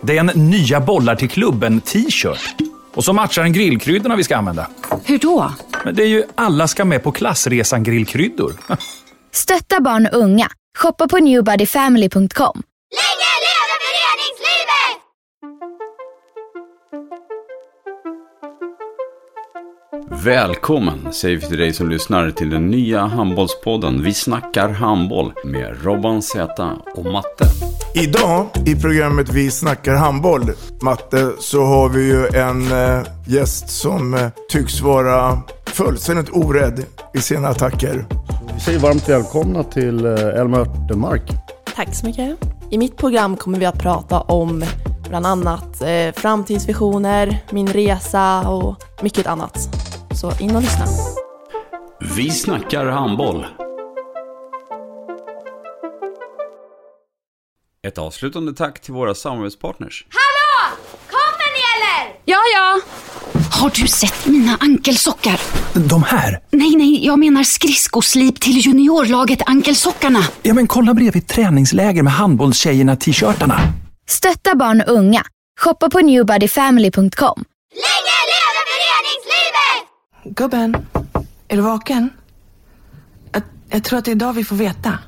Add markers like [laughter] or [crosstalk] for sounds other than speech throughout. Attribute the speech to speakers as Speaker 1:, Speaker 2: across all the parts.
Speaker 1: Det är en nya bollar till klubben-t-shirt. Och så matchar den grillkryddorna vi ska använda.
Speaker 2: Hur då?
Speaker 1: Men det är ju alla ska med på klassresan grillkryddor. [laughs]
Speaker 3: Stötta barn och unga. Shoppa på newbodyfamily.com.
Speaker 4: Länge leve föreningslivet!
Speaker 5: Välkommen säger vi till dig som lyssnar till den nya handbollspodden Vi snackar handboll med Robban Z och Matte.
Speaker 6: Idag i programmet Vi snackar handboll, Matte, så har vi ju en eh, gäst som eh, tycks vara fullständigt orädd i sina attacker.
Speaker 7: Vi säger varmt välkomna till eh, Elma Örtenmark.
Speaker 8: Tack så mycket. I mitt program kommer vi att prata om bland annat eh, framtidsvisioner, min resa och mycket annat. Så in och lyssna.
Speaker 5: Vi snackar handboll. Ett avslutande tack till våra samarbetspartners.
Speaker 4: Hallå! Kommer ni eller?
Speaker 2: Ja, ja. Har du sett mina ankelsockar?
Speaker 1: De här?
Speaker 2: Nej, nej, jag menar skridskoslip till juniorlaget Ankelsockarna.
Speaker 1: Ja, men kolla bredvid träningsläger med handbollstjejerna-t-shirtarna.
Speaker 3: Stötta barn och unga. Shoppa på newbodyfamily.com.
Speaker 4: Länge leve föreningslivet!
Speaker 9: Gubben, är du vaken? Jag, jag tror att det är idag vi får veta.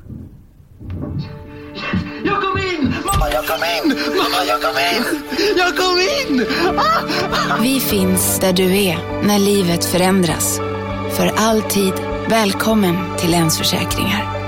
Speaker 10: Jag kom in! Mamma, jag kom in! Mamma, jag kom in! Jag kom in! Ah!
Speaker 2: Vi
Speaker 10: finns
Speaker 2: där du är när livet förändras. För alltid välkommen till Länsförsäkringar.